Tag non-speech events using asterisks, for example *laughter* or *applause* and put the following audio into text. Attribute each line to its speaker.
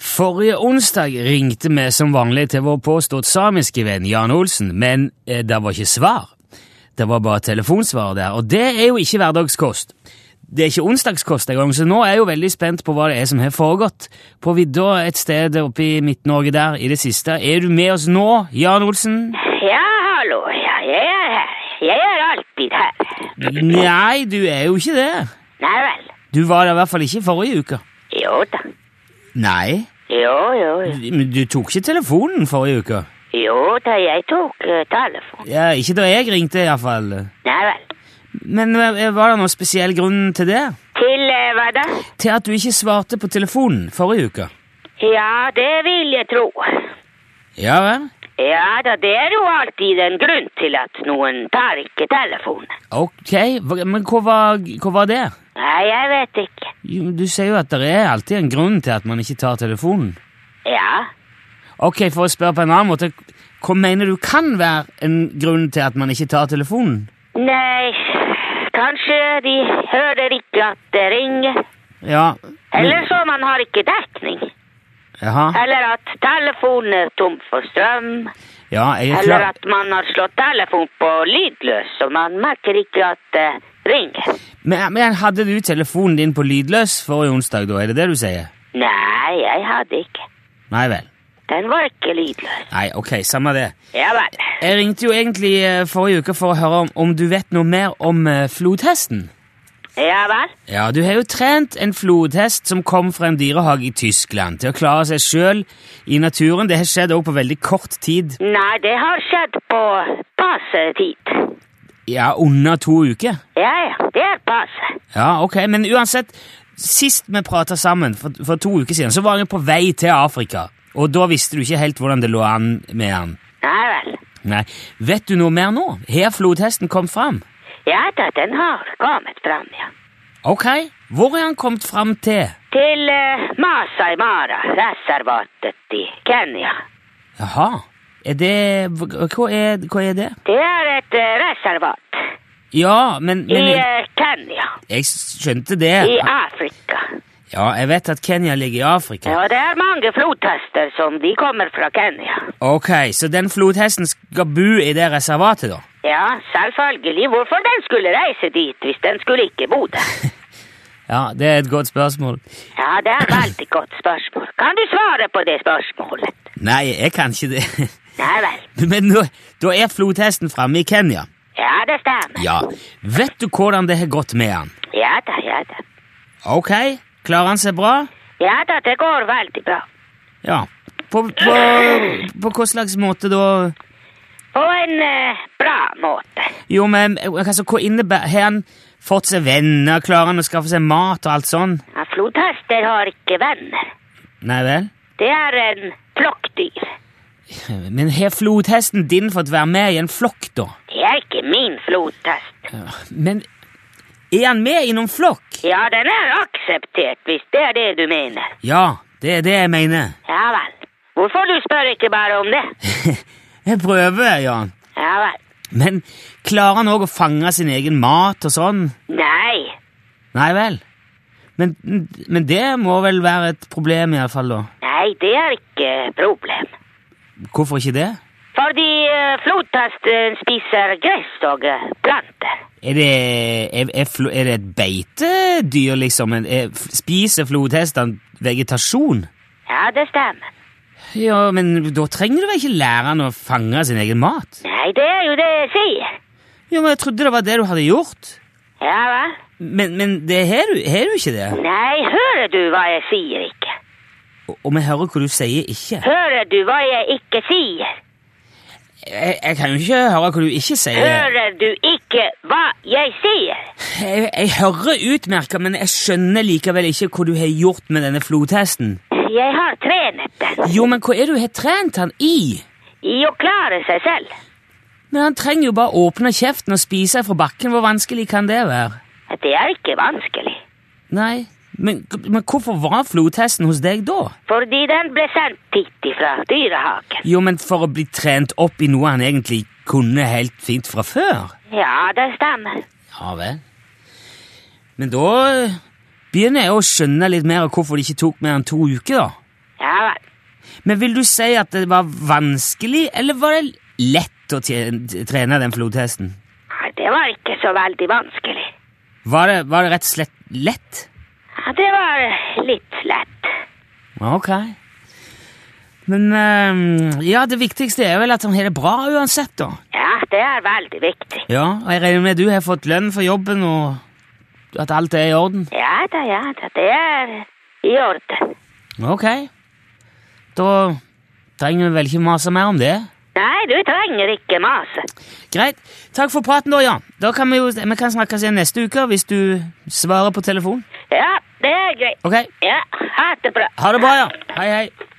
Speaker 1: Forrige onsdag ringte vi som vanlig til vår påstått samiske venn Jan Olsen, men eh, det var ikke svar. Det var bare telefonsvar der, og det er jo ikke hverdagskost. Det er ikke onsdagskost engang, så nå er jeg jo veldig spent på hva det er som har foregått. På vidda et sted oppe i Midt-Norge der i det siste. Er du med oss nå, Jan Olsen?
Speaker 2: Ja, hallo. Ja, jeg er her. Jeg er alltid her.
Speaker 1: Nei, du er jo ikke det.
Speaker 2: Nei vel.
Speaker 1: Du var der i hvert fall ikke forrige uke.
Speaker 2: Jo da.
Speaker 1: Nei.
Speaker 2: Jo, jo, jo.
Speaker 1: Men du tok ikke telefonen forrige uke?
Speaker 2: Jo da, jeg tok eh, telefonen.
Speaker 1: Ja, ikke da jeg ringte, iallfall.
Speaker 2: Nei vel.
Speaker 1: Men eh, var det noen spesiell grunn til det?
Speaker 2: Til eh, hva da?
Speaker 1: Til at du ikke svarte på telefonen forrige uke?
Speaker 2: Ja, det vil jeg tro.
Speaker 1: Ja vel?
Speaker 2: Ja da, det er jo alltid en grunn til at noen tar ikke telefonen.
Speaker 1: Ok, hva- men hva var, hva var det?
Speaker 2: Nei, jeg vet ikke.
Speaker 1: Jo, Du sier jo at det er alltid en grunn til at man ikke tar telefonen.
Speaker 2: Ja.
Speaker 1: Ok, for å spørre på en annen måte, hva mener du kan være en grunn til at man ikke tar telefonen?
Speaker 2: Nei, kanskje de hører ikke at det ringer.
Speaker 1: Ja,
Speaker 2: Eller så man har ikke dekning.
Speaker 1: jaha.
Speaker 2: Eller at telefonen er tom for strøm.
Speaker 1: Ja, jeg er
Speaker 2: Eller
Speaker 1: klar.
Speaker 2: at man har slått telefon på lydløs, og man merker ikke at det ringer.
Speaker 1: Men, men hadde du telefonen din på lydløs forrige onsdag da, er det det du sier?
Speaker 2: Nei, jeg hadde ikke.
Speaker 1: Nei vel.
Speaker 2: Den var ikke lydløs.
Speaker 1: Nei, ok, samme det.
Speaker 2: Ja vel.
Speaker 1: Jeg ringte jo egentlig eh, forrige uke for å høre om, om du vet noe mer om eh, flodhesten.
Speaker 2: Ja vel.
Speaker 1: Ja, du har jo trent en flodhest som kom fra en dyrehage i Tyskland, til å klare seg sjøl i naturen. Det har skjedd òg på veldig kort tid.
Speaker 2: Nei, det har skjedd på passe tid.
Speaker 1: Ja, under to uker.
Speaker 2: Ja, ja, det er passe.
Speaker 1: Ja, ok, men uansett, sist vi prata sammen, for, for to uker siden, så var han jo på vei til Afrika. Og da visste du ikke helt hvordan det lå an med han.
Speaker 2: Nei vel.
Speaker 1: Nei, Vet du noe mer nå? Her flodhesten kom fram?
Speaker 2: Ja da, den har kommet fram, ja.
Speaker 1: Ok, hvor er han kommet fram til?
Speaker 2: Til eh, Masai Mara-reservatet i Kenya.
Speaker 1: Jaha. Er det Hva er, hva er det?
Speaker 2: Det er et eh, reservat
Speaker 1: Ja, men,
Speaker 2: i
Speaker 1: men
Speaker 2: eh, Kenya,
Speaker 1: Jeg skjønte
Speaker 2: i
Speaker 1: det.
Speaker 2: Afrika.
Speaker 1: Ja, jeg vet at Kenya ligger i Afrika.
Speaker 2: Ja, det er mange flodhester som de kommer fra Kenya.
Speaker 1: Ok, Så den flodhesten skal bo i det reservatet, da?
Speaker 2: Ja, selvfølgelig. Hvorfor den skulle reise dit hvis den skulle ikke bo der?
Speaker 1: Ja, det er et godt spørsmål.
Speaker 2: Ja, det er et veldig godt spørsmål. Kan du svare på det spørsmålet?
Speaker 1: Nei, jeg kan ikke det. *laughs*
Speaker 2: Nei vel.
Speaker 1: Men nå, da er flodhesten framme i Kenya.
Speaker 2: Ja, det stemmer.
Speaker 1: Ja. Vet du hvordan det har gått med han?
Speaker 2: Ja da, ja da.
Speaker 1: Ok, klarer han seg bra?
Speaker 2: Ja da, det går veldig bra.
Speaker 1: Ja. På, på, på hva slags måte da?
Speaker 2: På en eh, bra måte.
Speaker 1: Jo, men altså, hva innebærer Har han fått seg venner? Klarer han å skaffe seg mat og alt sånn?
Speaker 2: Ja, flodhester har ikke venner.
Speaker 1: Nei vel?
Speaker 2: Det er en flokkdyr.
Speaker 1: Men har flodhesten din fått være med i en flokk, da?
Speaker 2: Det er ikke min flodhest.
Speaker 1: Men er han med i noen flokk?
Speaker 2: Ja, den er akseptert, hvis det er det du mener.
Speaker 1: Ja, det er det jeg mener.
Speaker 2: Ja vel. Hvorfor du spør ikke bare om det?
Speaker 1: Jeg prøver, Jan.
Speaker 2: Ja vel.
Speaker 1: Men klarer han òg å fange sin egen mat og sånn?
Speaker 2: Nei.
Speaker 1: Nei vel. Men, men det må vel være et problem, iallfall, da.
Speaker 2: Nei, det er ikke problem.
Speaker 1: Hvorfor ikke det?
Speaker 2: Fordi eh, flodhesten spiser gress og eh, planter.
Speaker 1: Er det, er, er, flo, er det et beitedyr, liksom? En- Er, spiser flodhestene vegetasjon?
Speaker 2: Ja, det stemmer.
Speaker 1: Ja, men da trenger du vel ikke lære han å fange sin egen mat?
Speaker 2: Nei, det er jo det jeg sier.
Speaker 1: Jo, men jeg trodde det var det du hadde gjort.
Speaker 2: Ja vel.
Speaker 1: Men, men det har du, har du ikke det?
Speaker 2: Nei, hører du hva jeg sier ikke?
Speaker 1: Og- Og vi hører hva du sier ikke.
Speaker 2: Hører du hva jeg ikke sier?
Speaker 1: Jeg, jeg kan jo ikke høre hva du ikke sier.
Speaker 2: Hører du ikke hva jeg sier?
Speaker 1: Jeg, jeg hører utmerket, men jeg skjønner likevel ikke hva du har gjort med denne flodhesten.
Speaker 2: Jeg har trenet den
Speaker 1: Jo, men hva er det du har trent han i?
Speaker 2: i å klare seg selv.
Speaker 1: Men han trenger jo bare åpne kjeften og spise fra bakken. Hvor vanskelig kan det være?
Speaker 2: Det er ikke vanskelig.
Speaker 1: Nei, men, men hvorfor var flodhesten hos deg da?
Speaker 2: Fordi den ble sendt hit fra dyrehagen.
Speaker 1: Jo, men for å bli trent opp i noe han egentlig kunne helt fint fra før.
Speaker 2: Ja, det stemmer.
Speaker 1: Ja vel. Men da begynner jeg å skjønne litt mer av hvorfor de ikke tok mer enn to uker, da.
Speaker 2: Ja, Ja vel.
Speaker 1: Men vil du si at det var vanskelig, eller var det lett å tje- trene den flodhesten?
Speaker 2: Nei, Det var ikke så veldig vanskelig.
Speaker 1: Var det, var det rett og slett lett?
Speaker 2: Ja, det var litt lett.
Speaker 1: Ok. Men ehm, ja, det viktigste er vel at han har det bra uansett, da.
Speaker 2: Ja, det er veldig viktig.
Speaker 1: Ja, og jeg regner med du har fått lønn for jobben, og at alt er i orden.
Speaker 2: Ja da, ja da, det er i orden.
Speaker 1: Ok. Da trenger vi vel ikke mase mer om det.
Speaker 2: Nei, du trenger ikke mase.
Speaker 1: Greit. Takk for praten, da, Jan. Da kan vi jo vi kan snakkes igjen neste uke hvis du svarer på telefon.
Speaker 2: Ja, det er greit.
Speaker 1: Ok.
Speaker 2: Ja, ha det bra.
Speaker 1: Ha det bra, ja. Hei, hei.